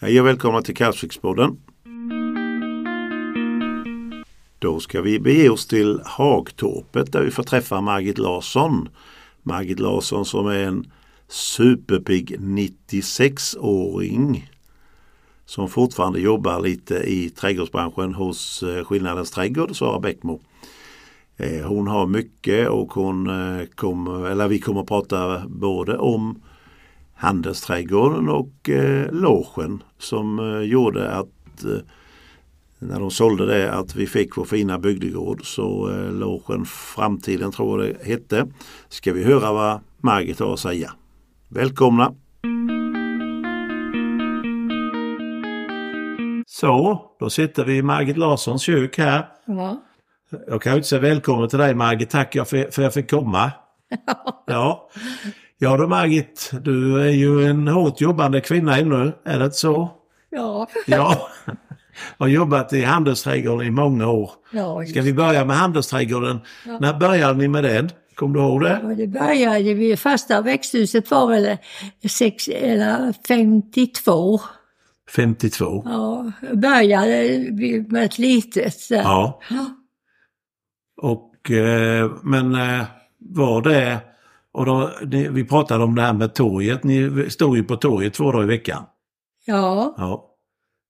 Hej och välkomna till Kalvsvikspodden. Då ska vi bege oss till Hagtorpet där vi får träffa Margit Larsson. Margit Larsson som är en superpigg 96-åring som fortfarande jobbar lite i trädgårdsbranschen hos eh, Skillnadens trädgård, Sara Bäckmo. Eh, Hon har mycket och hon eh, kommer, eller vi kommer att prata både om Handelsträdgården och eh, logen som eh, gjorde att eh, när de sålde det att vi fick vår fina bygdegård så eh, logen Framtiden tror jag det hette. Ska vi höra vad Margit har att säga. Välkomna! Så, då sitter vi i Margit Larssons kök här. Ja. Jag kan ju inte säga välkommen till dig Margit, tack jag för, för jag fick komma. Ja. ja du Margit, du är ju en hårt jobbande kvinna ännu, är det inte så? Ja. Ja. Har jobbat i handelsträdgården i många år. ja. Ska vi börja med handelsträdgården? När började ni med den? Kommer du ihåg det? Och det började vid första växthuset var väl sex, eller 52. 52. Ja, började vi med ett litet. så. Ja. Och, eh, men eh, var det... Och då, det, vi pratade om det här med torget. Ni stod ju på torget två dagar i veckan. Ja, Ja.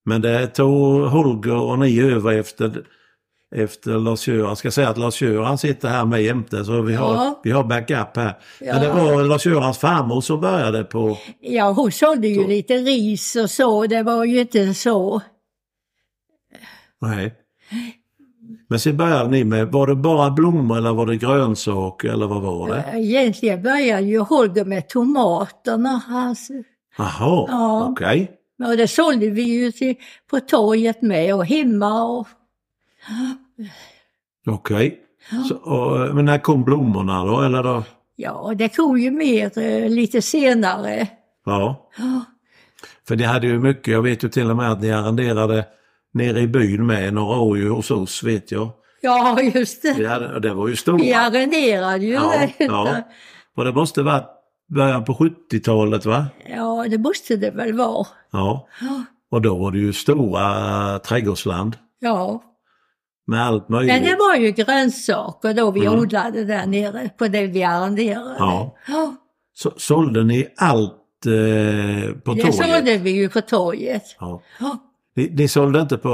Men det tog Holger och ni över efter, efter Lars-Göran. Jag ska säga att Lars-Göran sitter här med jämte så vi har, Ja. vi har backup här. Men det Ja. var Lars-Görans farmor som började på... ja hon sålde ju Så. lite ris och så, det var ju inte så. Nej. Men sen började ni med, var det bara blommor eller var det grönsaker eller vad var det? Egentligen började ju Holger med tomaterna. Alltså. Jaha, Ja. okej. Och det sålde vi ju till, på torget med och hemma. Och, Okej. Så, och, Men när kom blommorna då? Eller då? ja, det kom ju mer eh, lite senare. Ja. För ni hade ju mycket, jag vet ju till och med att ni arrenderade nere i byn med några år ju hos oss vet jag. Ja, just det. Vi hade, och det var ju stora. Vi arrenderade ju. ja, Ja, ja. Och det måste varit början på 70-talet va? det måste det väl vara. Ja. Och då var det ju stora trädgårdsland Ja. med allt möjligt. Men det var ju grönsaker då vi odlade där nere på det vi arrenderade. Mm. Ja. Ja, Så, sålde ni allt eh, på det torget? sålde vi ju på torget. Ja. Ja. Ni, ni sålde inte på,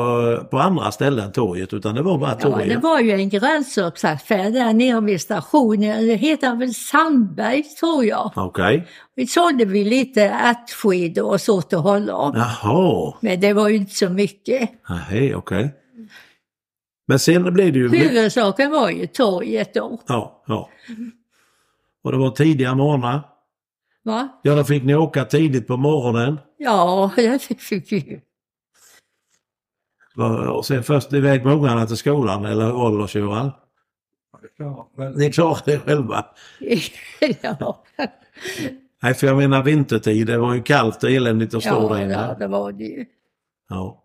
på andra ställen än torget utan det var bara Ja, torget? det var ju en grönsaksaffär där nere vid stationen. Det heter väl Sandberg tror jag. Okej. Vi sålde vi lite ärtskidor och så till honom. Jaha. Men det var ju inte så mycket. Nej, okej. Men sen blev det ju... Huvudsaken var ju torget då. Ja, ja. Och det var tidiga morgnar. Va? Ja, då fick ni åka tidigt på morgonen. Ja, det fick vi ju. Va- Och sen först iväg med ungarna till skolan, eller hur var det Lars-Johan? Ni klarade det själva. ja, Nej, för jag menar vintertid, det var ju kallt och eländigt att stå ja, där ja, inne. det var det ju. Ja.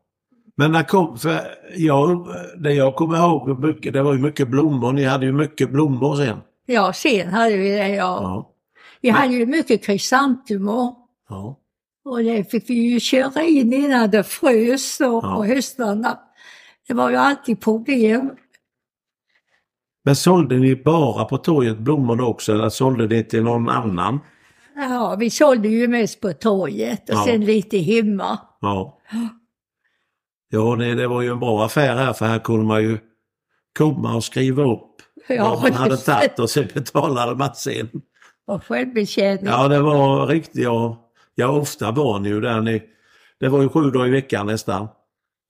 Men när kom, för jag, det jag kommer ihåg, mycket, det var ju mycket blommor. Ni hade ju mycket blommor sen. Ja, sen hade vi det, ja. Ja. Vi hade ju mycket krysantemor. ja. Och det fick vi ju köra in innan det frös då Ja. på höstarna. Det var ju alltid problem. Men sålde ni bara på torget blommor då också eller sålde ni till någon annan? Ja, vi sålde ju mest på torget och Ja. sen lite hemma. Ja. Ja, det, det var ju en bra affär här för här kunde man ju komma och skriva upp vad man hade tagit och sen betalade man sen. Och självbetjäning. Ja, det var riktigt. Ja, ja ofta var ni ju där. Ni, det var ju sju dagar i veckan nästan.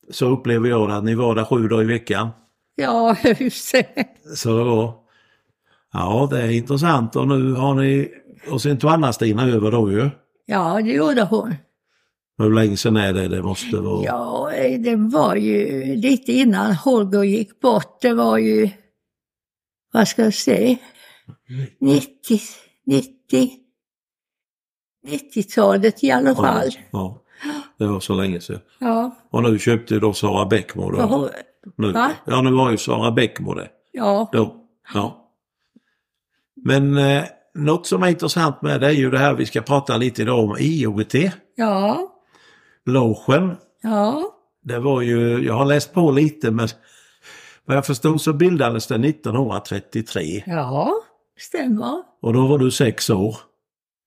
Så upplever jag det, att ni var där sju dagar i veckan. Ja, just det. Så det var... Ja, det är intressant och nu har ni... Och sen tog Anna-Stina över då ju. Ja, det gjorde hon. Hur länge sedan är det? Det måste vara... Ja, eh, det var ju lite innan Holger gick bort. Det var ju, vad ska jag säga, 90, 90, 90-talet i alla fall. Ja, det var så länge sedan. Ja, Och nu köpte ju då Sara Bäckmo för då. hon, Nu. Va? Ja, nu var ju Sara Bäckmo det. ja, Då. Ja. Men eh, något som är intressant med det är ju det här vi ska prata lite idag om IOGT. ja, logen. Ja, Det var ju, jag har läst på lite men vad jag förstod så bildades den 1933 ja, stämmer. och då var du sex år.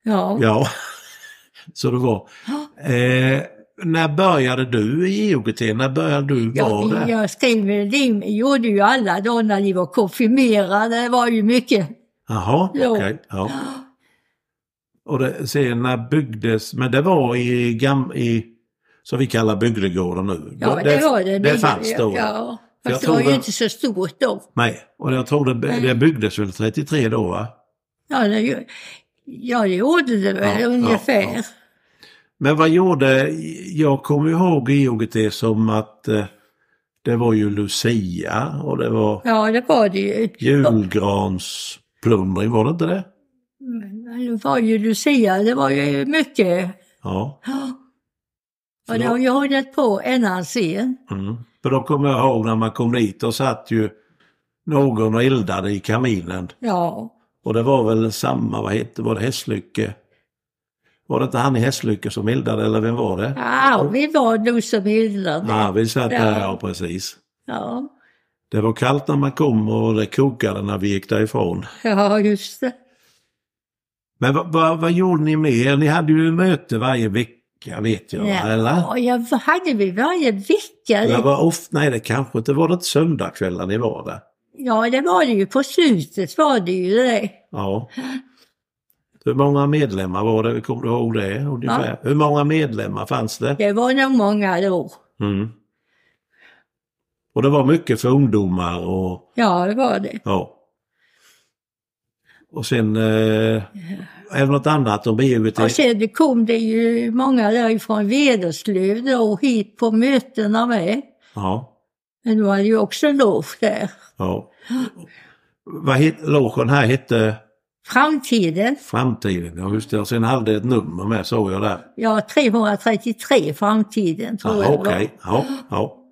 Ja. Ja, så det var. Eh, när började du i IOGT? När började du vara Jag, där? jag skriver, det gjorde ju alla då när de var konfirmerade. Det var ju mycket. Jaha, okej. Ja. Jo. Och det, sen när byggdes, men det var i, gam, i som vi kallar bygdegården nu. Ja, det, var det. Det fanns då. Ja, Jag fast det tror var ju det- inte så stort då. Nej, och jag tror det, Mm. det byggdes väl 33 då va? Ja, det, ju- ja, det gjorde det väl Ja, ungefär. ja, ja. Men vad gjorde, jag kommer ihåg IOGT som att eh, det var ju Lucia och det var Ja, det var det ju. julgransplundring, var det inte det? Men Det var ju Lucia, det var ju mycket. Ja. Ja. Så Och det har ju hållit på ända sen. Mm. För då kommer jag ihåg när man kom dit och satt ju någon och eldade i kaminen. Ja, Och det var väl samma, vad hette var det, Hästlycke? Var det inte han i Hästlycke som eldade eller vem var det? Arvid var nog som hyllade. Ja, vi satt där, Ja. ja precis. Ja. Det var kallt när man kom och det kokade när vi gick därifrån. ja, just det. Men vad, vad, vad gjorde ni mer? Ni hade ju möte varje vecka vet jag, Ja, eller? jag hade vi varje vecka. Det var ofta, nej det kanske inte var, det inte söndagskvällar ni var där? Ja, det var det ju. På slutet var det ju det. Ja. Hur många medlemmar var det? Kommer du ihåg det? Ungefär? Hur många medlemmar fanns det? Det var nog många då. Mm. Och det var mycket för ungdomar och Ja, det var det. ja. Och sen, eh, är det något annat om IOGT? Och sen kom det ju många därifrån Vederslöv då hit på mötena med. Ja. Men det var ju också lov där. ja. Vad het, logen här hette? Framtiden, Framtiden, ja just det. Och sen hade det ett nummer med såg jag där. ja 333 Framtiden tror Ja, jag det Okej, var. ja, ja.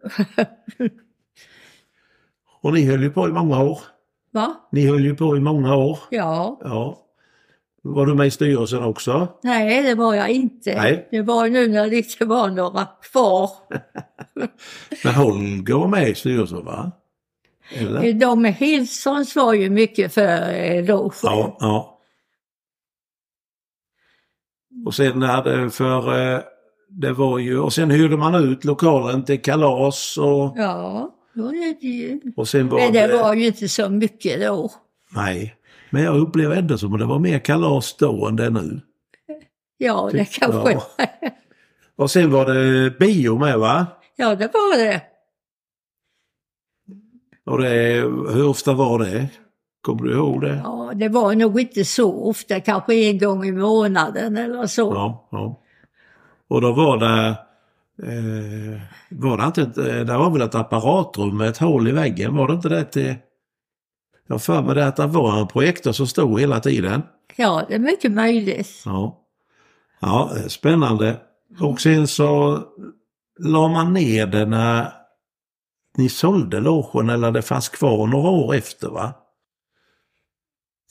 Och ni höll ju på i många år. Va? Ni höll ju på i många år. Ja. Ja. Var du med i styrelsen också? Nej, det var jag inte. Nej. Det var nu när det inte var några kvar. Men Holger var med i styrelsen va? Eller? Eh, De med Hilsons var ju mycket för eh, logen. Ja, ja. Och sen hade för eh, det var ju, och sen hyrde man ut lokalen till kalas och, Ja, då är det ju. och sen var Men det var ju inte så mycket då. Nej. Men jag upplever ändå som att det var mer kalas då än det är nu. Ja, det Tyckte kanske... jag. Och sen var det bio med va? Ja, det var det. Och det, hur ofta var det? Kommer du ihåg det? Ja, det var nog inte så ofta, kanske en gång i månaden eller så. Ja, ja. Och då var det... Eh, var det inte... ett- eh, Det var väl ett apparatrum med ett hål i väggen? Var det inte det till... Jag har för mig det att det var en projektor som stod hela tiden. Ja, det är mycket möjligt. Ja. Ja, eh, spännande. Och sen så la man ner det när ni sålde logen eller det fanns kvar några år efter va?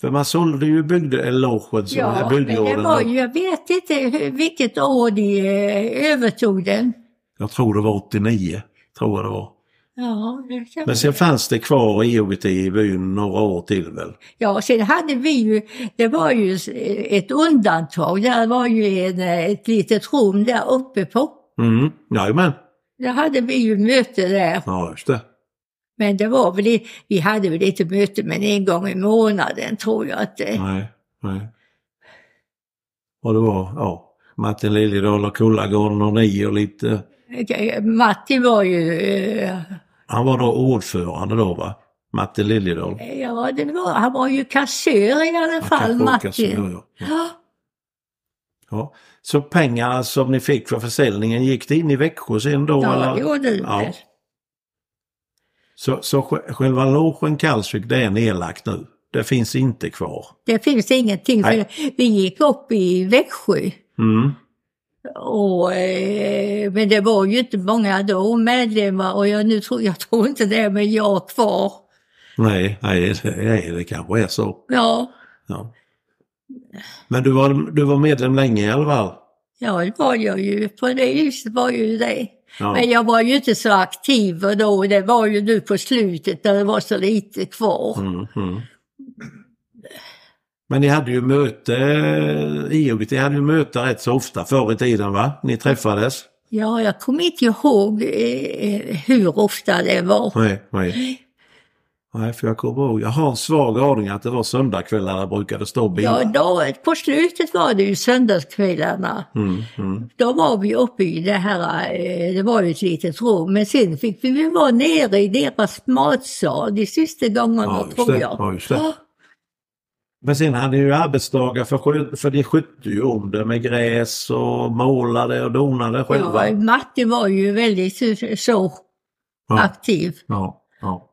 För man sålde ju bygde, eller logen som Ja, ja, men det bygdegården. var ju, jag vet inte hur- vilket år de eh, övertog den. Jag tror det var 89. Tror jag det var. Ja, det kan... Men sen fanns det kvar IOGT i byn några år till väl? ja, sen hade vi ju, det var ju s- ett undantag, där var ju en, eh, ett litet rum där uppe på. Mm, jajamän. Där hade vi ju möte där. Ja, just det. Men det var väl, i- vi hade väl inte möte men en gång i månaden tror jag att eh, det. Nej, nej. Och det var, ja, Martin Liljedahl och Kullagården och ni och lite... Matti var ju, eh, Han var då ordförande då va? Martin Liljedahl. ja det var, han var ju kassör i alla Han fall, kanske orkar Matti. så, ja, ja. Ja, Ja. Så pengarna som ni fick för försäljningen, gick det in i Växjö sen då? ja, det eller? gjorde det Ja. väl. Så, så sj- själva logen Kalsvik, det är nedlagt nu? Det finns inte kvar? Det finns ingenting, Nej. för vi gick upp i Växjö. Mm. Och, eh, men det var ju inte många då medlemmar och jag, nu tror, jag tror inte det, men jag är kvar. Nej, nej, det- nej, det kanske är så. Ja, Ja. Men du var, du var medlem länge i alla fall? Ja, det var jag ju. På det viset var ju det. Ja. Men jag var ju inte så aktiv och då. Det var ju nu på slutet när det var så lite kvar. Mm, mm. Men ni hade ju möte, eh, IOGT hade ju möte rätt så ofta förr i tiden va? Ni träffades? Ja, jag kommer inte ihåg eh, hur ofta det var. Nej, nej. Nej, för jag kommer ihåg, jag har en svag aning att det var söndagskvällar det brukade stå Ja, bilar. då, på slutet var det ju söndagskvällarna. Mm, mm. Då var vi uppe i det här, eh, det var ju ett litet rum, men sen fick vi väl vara nere i deras matsal de sista Ja, gångerna just tror det. jag. Ja, just det. Men sen hade ni ju arbetsdagar för, skö- för ni skötte ju om det med gräs och målade och donade själva. Ja, Ja, Matti var ju väldigt så, så Ja. aktiv. ja, ja.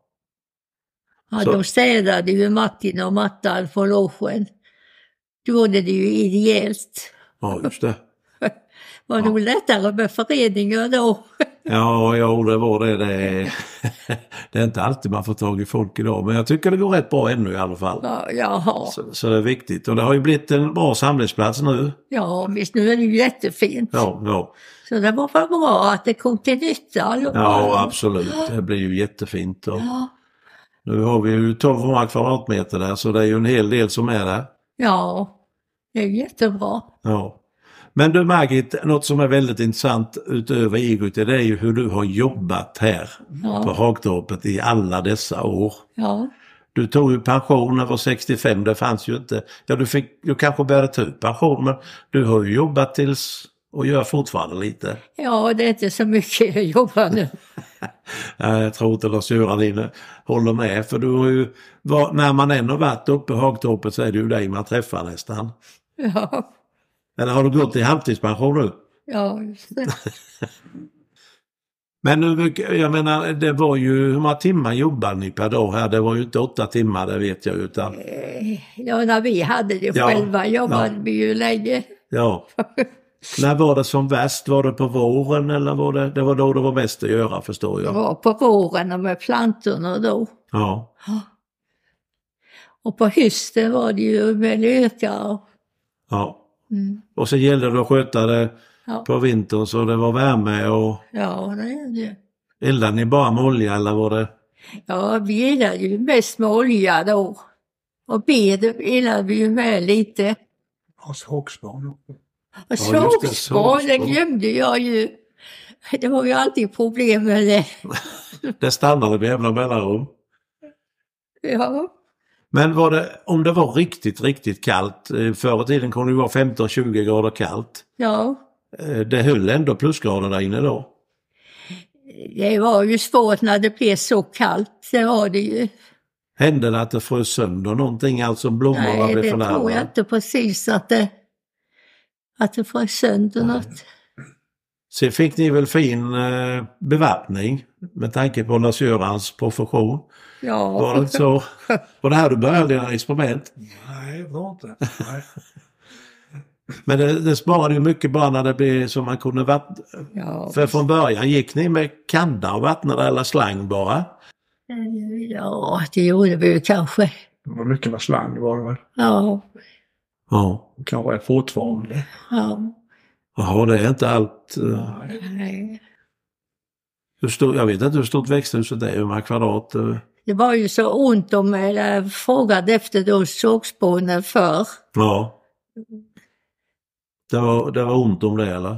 Ja, Så- de städade ju Martin och Mattan på logen. Då gjorde det ju ideellt. just det. Var nog lättare med föreningar då. Ja, ja det var det. Det, det är inte alltid man får tag i folk idag, men jag tycker det går rätt bra ännu i alla fall. Ja, jaha. Så, så det är viktigt. Och det har ju blivit en bra samlingsplats nu. Ja, visst nu är det ju jättefint. Ja, ja. Så det var väl bra att det kom till nytta. Ja, absolut. Det blir ju jättefint. Och Ja, nu har vi ju 1200 kvadratmeter där, så det är ju en hel del som är där. ja. Det är jättebra. Ja. Men du Margit, något som är väldigt intressant utöver egot, det är ju hur du har jobbat här på Ja, Hagtorpet i alla dessa år. ja. Du tog ju pension när du var 65, det fanns ju inte. Ja, du, fick, du kanske började ta ut pension, men du har ju jobbat tills och gör fortfarande lite. ja, det är inte så mycket jag jobbar nu. Ja, Jag tror inte Lars-Göran Linde håller med. För du har ju, var, när man än har varit uppe i Hagtorpet så är det ju dig man träffar nästan. Ja, Eller har du gått i halvtidspension nu? ja just det. Men hur mycket, jag menar, det var ju, hur många timmar jobbar ni per dag här? Det var ju inte åtta timmar, det vet jag. Utan, Eh, Ja, när vi hade det Ja, själva jobbade ja. vi ju länge. ja. När var det som värst? Var det på våren eller var det, det var då det var mest att göra förstår Det jag? var på våren och med plantorna då. Ja, Och på hösten var det ju med lökar. ja. Mm. Och så gällde det att sköta det Ja, på vintern så det var värme och ja, det är det. eldade ni bara med olja eller var det? Ja, vi gillade ju mest med olja då. Och bed gillade vi ju med lite. Hans Håksman. Och just det, sågspån, det sågspån. glömde jag ju. Det var ju alltid problem med det. Det stannade med jämna mellanrum. Ja. Men var det, om det var riktigt, riktigt kallt, eh, förr i tiden kunde det ju vara 15-20 grader kallt. Ja, Eh, Det höll ändå plusgrader där inne då. det var ju svårt när det blev så kallt, det var det ju. Hände det att det frös sönder någonting, alltså blommorna Nej, blev det tror jag fördärvade? inte precis att det, att det frös sönder något. Sen fick ni väl fin eh, bevattning med tanke på Lars-Görans profession. Var det Ja, inte så? Var det här du började dina experiment? Nej, det var inte. Nej. Men det, det sparade ju mycket bara när det blev så man kunde vattna. ja. För från början gick ni med kanna och vattnade eller slang bara? ja det gjorde vi ju kanske. Det var mycket med slang var det väl. Ja, Ja. Kanske är fortfarande. ja. Jaha, det är inte allt. eh, Nej. Nej. Hur stor, jag vet inte hur stort växthuset är, hur många kvadrat. eh. Det var ju så ont om, eller frågade efter då sågspånen förr. Ja. Det var, det var ont om det eller?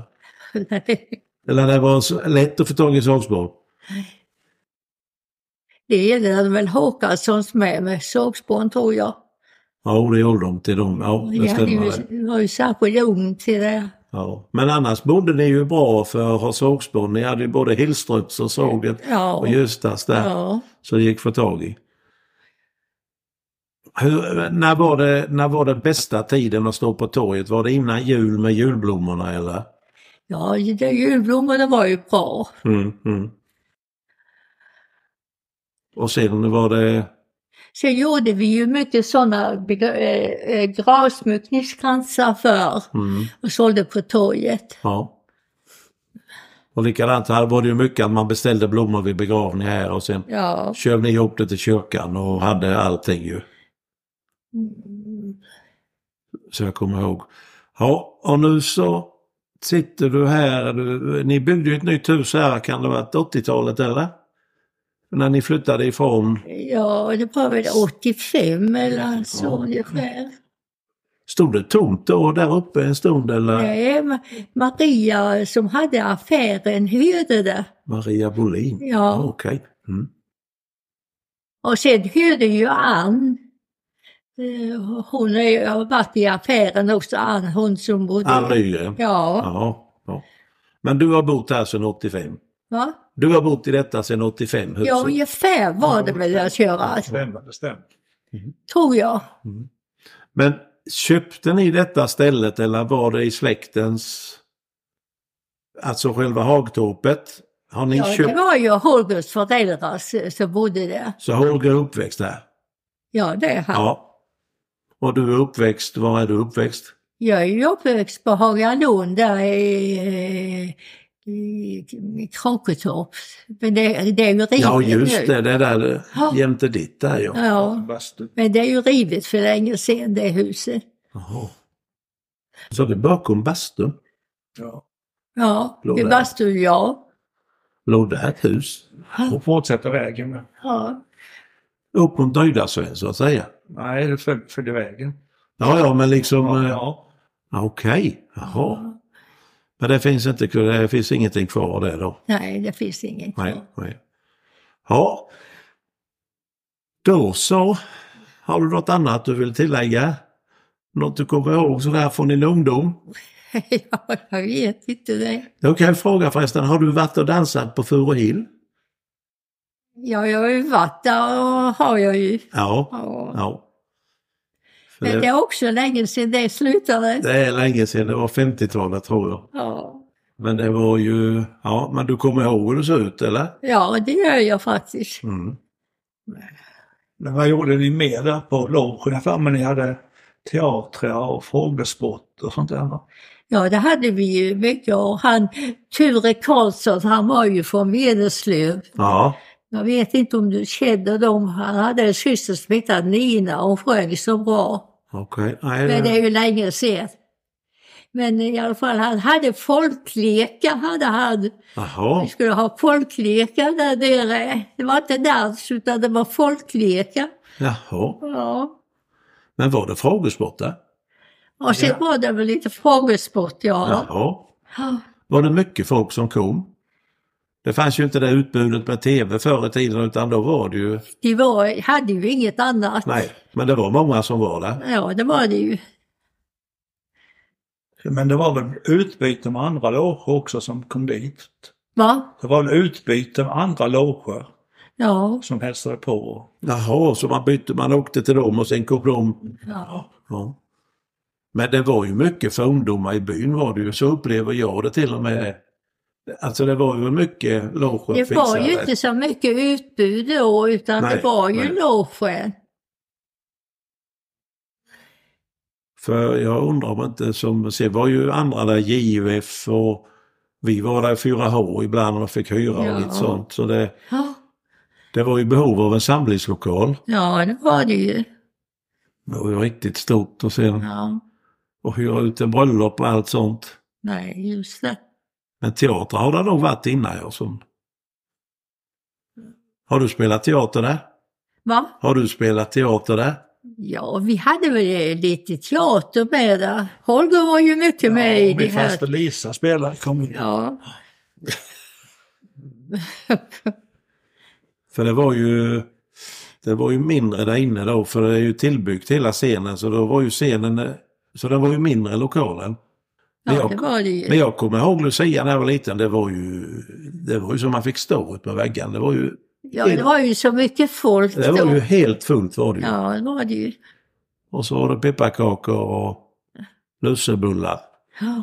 Eller det var så lätt att få tag i sågspån? Det gällde väl Håkanssons med, med sågspån tror jag. Ja, det gjorde de till dem. Ja, det Vi hade stämmer. ju, det. det var ju särskild ugn till det. Ja. Men annars bodde ni ju bra för att ha sågspån. Ni hade ju både Hillströms och såget Ja. och Göstas där. Ja. Så det gick för tag i. Hur, när, var det, när var det bästa tiden att stå på torget? Var det innan jul med julblommorna eller? ja, det- julblommorna var ju bra. Mm, mm. Och sen var det... Sen gjorde vi ju mycket sådana eh, gravsmyckningskransar för Mm, och sålde på torget. ja. Och likadant här var det ju mycket att man beställde blommor vid begravningar här och sen Ja. körde ni ihop det till kyrkan och hade allting ju. Mm. Så jag kommer ihåg. Ja, och nu så sitter du här, du, ni byggde ju ett nytt hus här, kan det ha varit 80-talet eller? När ni flyttade ifrån Ja, det var väl 85 eller så ungefär. Stod det tomt då där uppe en stund eller? Nej, Ma- Eh, Maria som hade affären hyrde det. Maria Bolin? Ja. Okej. Mm. Och sen hyrde ju Ann. Eh, Hon är ju- har varit i affären också, Ann, hon som bodde... Ann Nygren? Ja. Ja. ja. Men du har bott här sedan 85? Va? Du har bott i detta sedan 85? Huset. Ja, ungefär var det väl jag köra, Stämmer, det stämmer. tror jag. Men köpte ni detta stället eller var det i släktens, alltså själva Hagtorpet? Har ni Ja, det köpt? var ju Holgers föräldrar s- som bodde där. Så Holger är uppväxt där? Ja, det är han. Ja. Och du är uppväxt, var är du uppväxt? Jag är ju uppväxt på Hagalund där i, eh, i, i Kråketorp. Men det, det är ju rivet Ja just nu. det, det där Ja. jämte ditt där ja. Ja, Bastu. men det är ju rivet för länge sedan det huset. Jaha. Så det bakom bastun Ja. Ja, Låg i där. bastun ja. låg det ett hus. Och fortsätter vägen. men- ja. Upp mot Nöjdasön så att säga. Nej, det föl- följde vägen. Ja ja men liksom, Ja, eh, ja. okej, jaha. Men det finns, inte, det finns ingenting kvar där då? Nej, det finns inget Nej, kvar. nej. Ja. Då så. Har du något annat du vill tillägga? Något du kommer ihåg sådär från din ungdom? ja, jag vet inte det. Jag kan jag fråga förresten, har du varit och dansat på Furuhill? Ja, jag har ju varit där och har jag ju. Ja. Ja. ja. För Men det det, är också länge sedan det slutade. det är länge sedan, det var 50-talet tror jag. Ja. Men det var ju, ja men du kommer ihåg hur det såg ut eller? ja, det gör jag faktiskt. Mm. Men vad gjorde ni mer där på logen? Jag för mig ni hade teatrar och frågesport och sånt där. va? Ja, det hade vi ju mycket. Och han, Ture Karlsson, han var ju från Vederslöv. Ja. Jag vet inte om du känner dem. Han hade en syster som hette Nina och hon sjöng så bra. Okej. Men Nej. det är det- ju länge sedan. Men i alla fall, han hade folklekar hade han. Jaha. Vi skulle ha folklekar där nere. Det var inte dans, utan det var folklekar. Jaha. Ja. Men var det frågesport där? Och sen var det väl lite frågesport, ja. Jaha. ja. var det mycket folk som kom. Det fanns ju inte det utbudet med tv förr i tiden utan då var det ju... De var, hade ju inget annat. Nej, men det var många som var där. Ja, det var det ju. Men det var väl utbyte med andra loger också som kom dit. Va? Det var väl utbyte med andra loger Ja. som hälsade på. Jaha, så man bytte, man åkte till dem och sen kom de. ja. Ja. Men det var ju mycket för ungdomar i byn var det ju, så upplever jag det till och med. Alltså det var ju mycket loger Det var ju fixade. inte så mycket utbud då, utan Nej, det var ju nej. logen. För jag undrar om inte som, sen var ju andra där, JUF och vi var där i 4H ibland och fick hyra Ja. och lite sånt. Så det, Ja. det var ju behov av en samlingslokal. ja, det var det ju. Det var ju riktigt stort och sen Ja. och hyra ut en bröllop och allt sånt. Nej, just det. Men teater har det nog varit innan jag som... Har du spelat teater där? Va? Har du spelat teater där? Ja, vi hade väl lite teater med där. Holger var ju mycket med i och det min här. faster Lisa spelade, kom in. Ja. För det var ju... Det var ju mindre där inne då för det är ju tillbyggt hela scenen så då var ju scenen... eh, Så den var ju mindre lokalen. Men ja, jag- det var det Men ju. jag kommer ihåg Lucia när jag var liten, det var ju... Det var ju som man fick stå ut med väggen. Det var ju, Ja, det var ju så mycket folk det var ju då. helt fullt var det ju. Ja, det var det ju. Och så var det pepparkakor och lussebullar. Ja.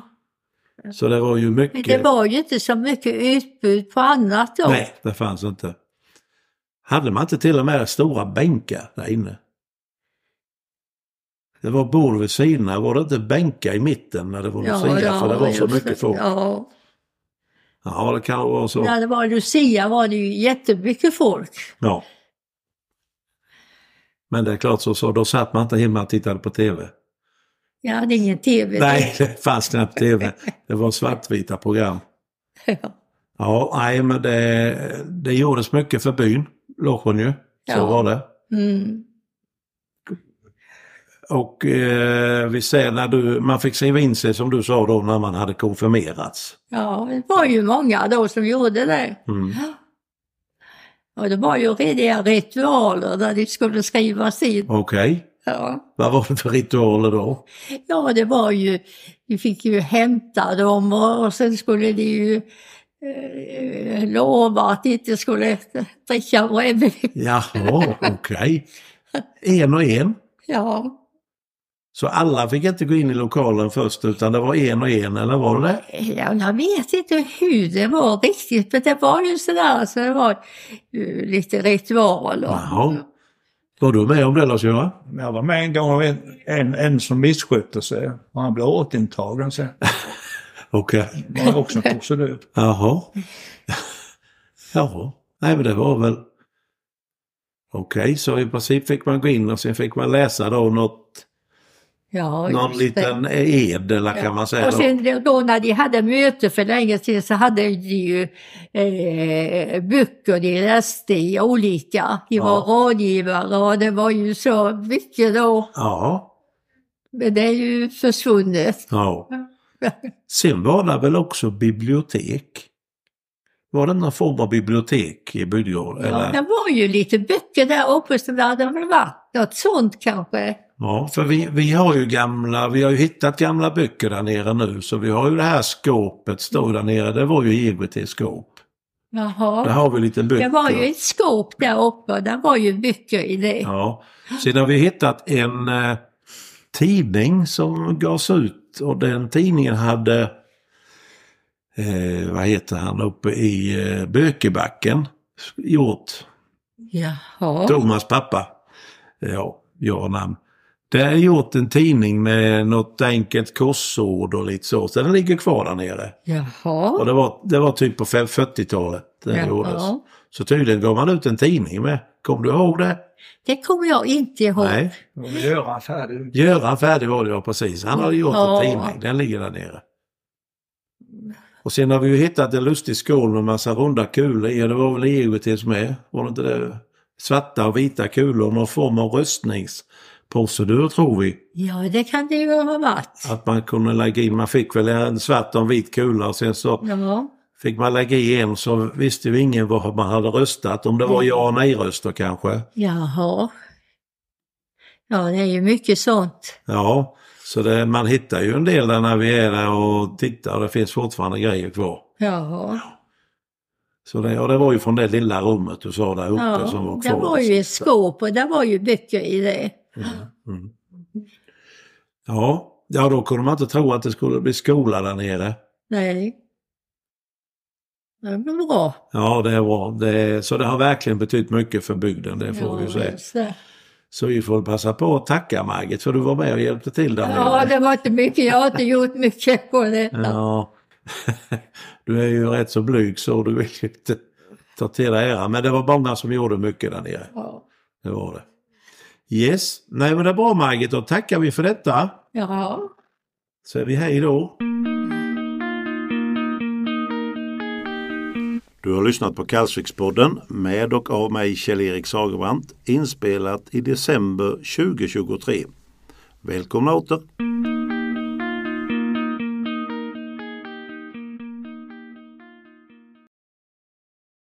Så det var ju Men mycket. det var ju inte så mycket utbud på annat då. Nej, det fanns inte. Hade man inte till och med stora bänkar där inne? Det var bord vid sidorna, var det inte bänkar i mitten när det var lucia? för det var så just mycket folk. Ja. Ja. det kan nog vara så. När det var Lucia var det ju jättemycket folk. Ja. Men det är klart, så, så, då satt man inte hemma och tittade på TV. Jag hade ingen tv. då. Nej, det fanns knappt tv. Det var svartvita program. Ja. Ja, nej, men det, det gjordes mycket för byn, Låsjön ju. Så Ja. var det. Mm. Och eh, vi ser när du, man fick skriva in sig som du sa då när man hade konfirmerats. ja, det var ju många då som gjorde det. Mm. Och det var ju rediga ritualer där det skulle skrivas in. Okej, Ja. vad var det för ritualer då? ja, det var ju, vi fick ju hämta dem och, och sen skulle de ju eh, lova att de inte skulle dricka brännvin. Jaha, okej. En och en. Ja. Så alla fick inte gå in i lokalen först utan det var en och en, eller var det det? Ja, jag vet inte hur det var riktigt, men det var ju sådär så det var eh, lite ritualer. Jaha. Var du med om det Lars-Göran? Men jag var med en gång och en, en, en som misskötte sig. Och han blev återintagen sen. Okej. Det var också en procedur. Jaha. Jaha. Nej men det var väl... Okej, så i princip fick man gå in och sen fick man läsa då något, Ja, någon just det. liten ed eller kan man säga. Och då. sen då när de hade möte för länge sedan så hade de ju eh, böcker de läste i olika. De var Ja. rådgivare och det var ju så mycket då. Ja. Men det är ju försvunnet. Ja. Sen var det väl också bibliotek? Var det någon form av bibliotek i bygdegården? Ja. eller? Det var ju lite böcker där uppe så det hade väl varit något sånt kanske. Ja, för vi, vi har ju gamla, vi har ju hittat gamla böcker där nere nu. Så vi har ju det här skåpet, Mm. står där nere, det var ju IGBTs skåp. Där Jaha. har vi lite böcker. Det var ju ett skåp där uppe och där var ju böcker i det. Ja. Sen har vi hittat en eh, tidning som gavs ut och den tidningen hade, eh, vad heter han, uppe i eh, Bökebacken gjort. Jaha. Thomas pappa, Eh, ja, jag har namn. Det har gjort en tidning med något enkelt korsord och lite så. Så den ligger kvar där nere. Och Jaha. det var, det var typ på fem- 40-talet den gjordes. Jaha. Så tydligen gav man ut en tidning med. Kommer du ihåg det? Det kommer jag inte ihåg. Nej. Och Göran färdig. Göran Färdig var det ja, precis. Han hade gjort Ja. en tidning. Den ligger där nere. Och sen har vi ju hittat en lustig skål med massa runda kulor i. E Och det var väl EUTs med? Var det inte det? Svarta och vita kulor. Någon form av röstningsprocedur tror vi. Ja, det kan det ju ha varit. Att man kunde lägga in. Man fick väl en svart och en vit kula och sen så Ja. fick man lägga i en så visste ju ingen vad man hade röstat. Om det var ja och nej-röster kanske. Jaha. Ja, det är ju mycket sånt. Ja, så det, man hittar ju en del där när vi är där och tittar. Det finns fortfarande grejer kvar. Jaha. Så det, och det var ju från det lilla rummet du sa där uppe Ja, som var kvar. det var ju ett skåp och det var ju böcker i det. Mm. Ja, ja, då kunde man inte tro att det skulle bli skola där nere. Nej. Det var bra. Ja, det var det. Så det har verkligen betytt mycket för bygden, det får vi ju säga. just det. Så vi får passa på att tacka Margit för du var med och hjälpte till där Ja, nere. det var inte mycket. Jag har inte gjort mycket på detta. Ja. Du är ju rätt så blyg så du vill ju inte ta till dig äran. Men det var många som gjorde mycket där nere. Ja. Det var det. Yes, nej men det är bra Margit, då tackar vi för detta. ja. Så är vi hej då. Du har lyssnat på Kalsvikspodden med och av mig Kjell-Erik Sagerbrant inspelat i december 2023. Välkomna åter!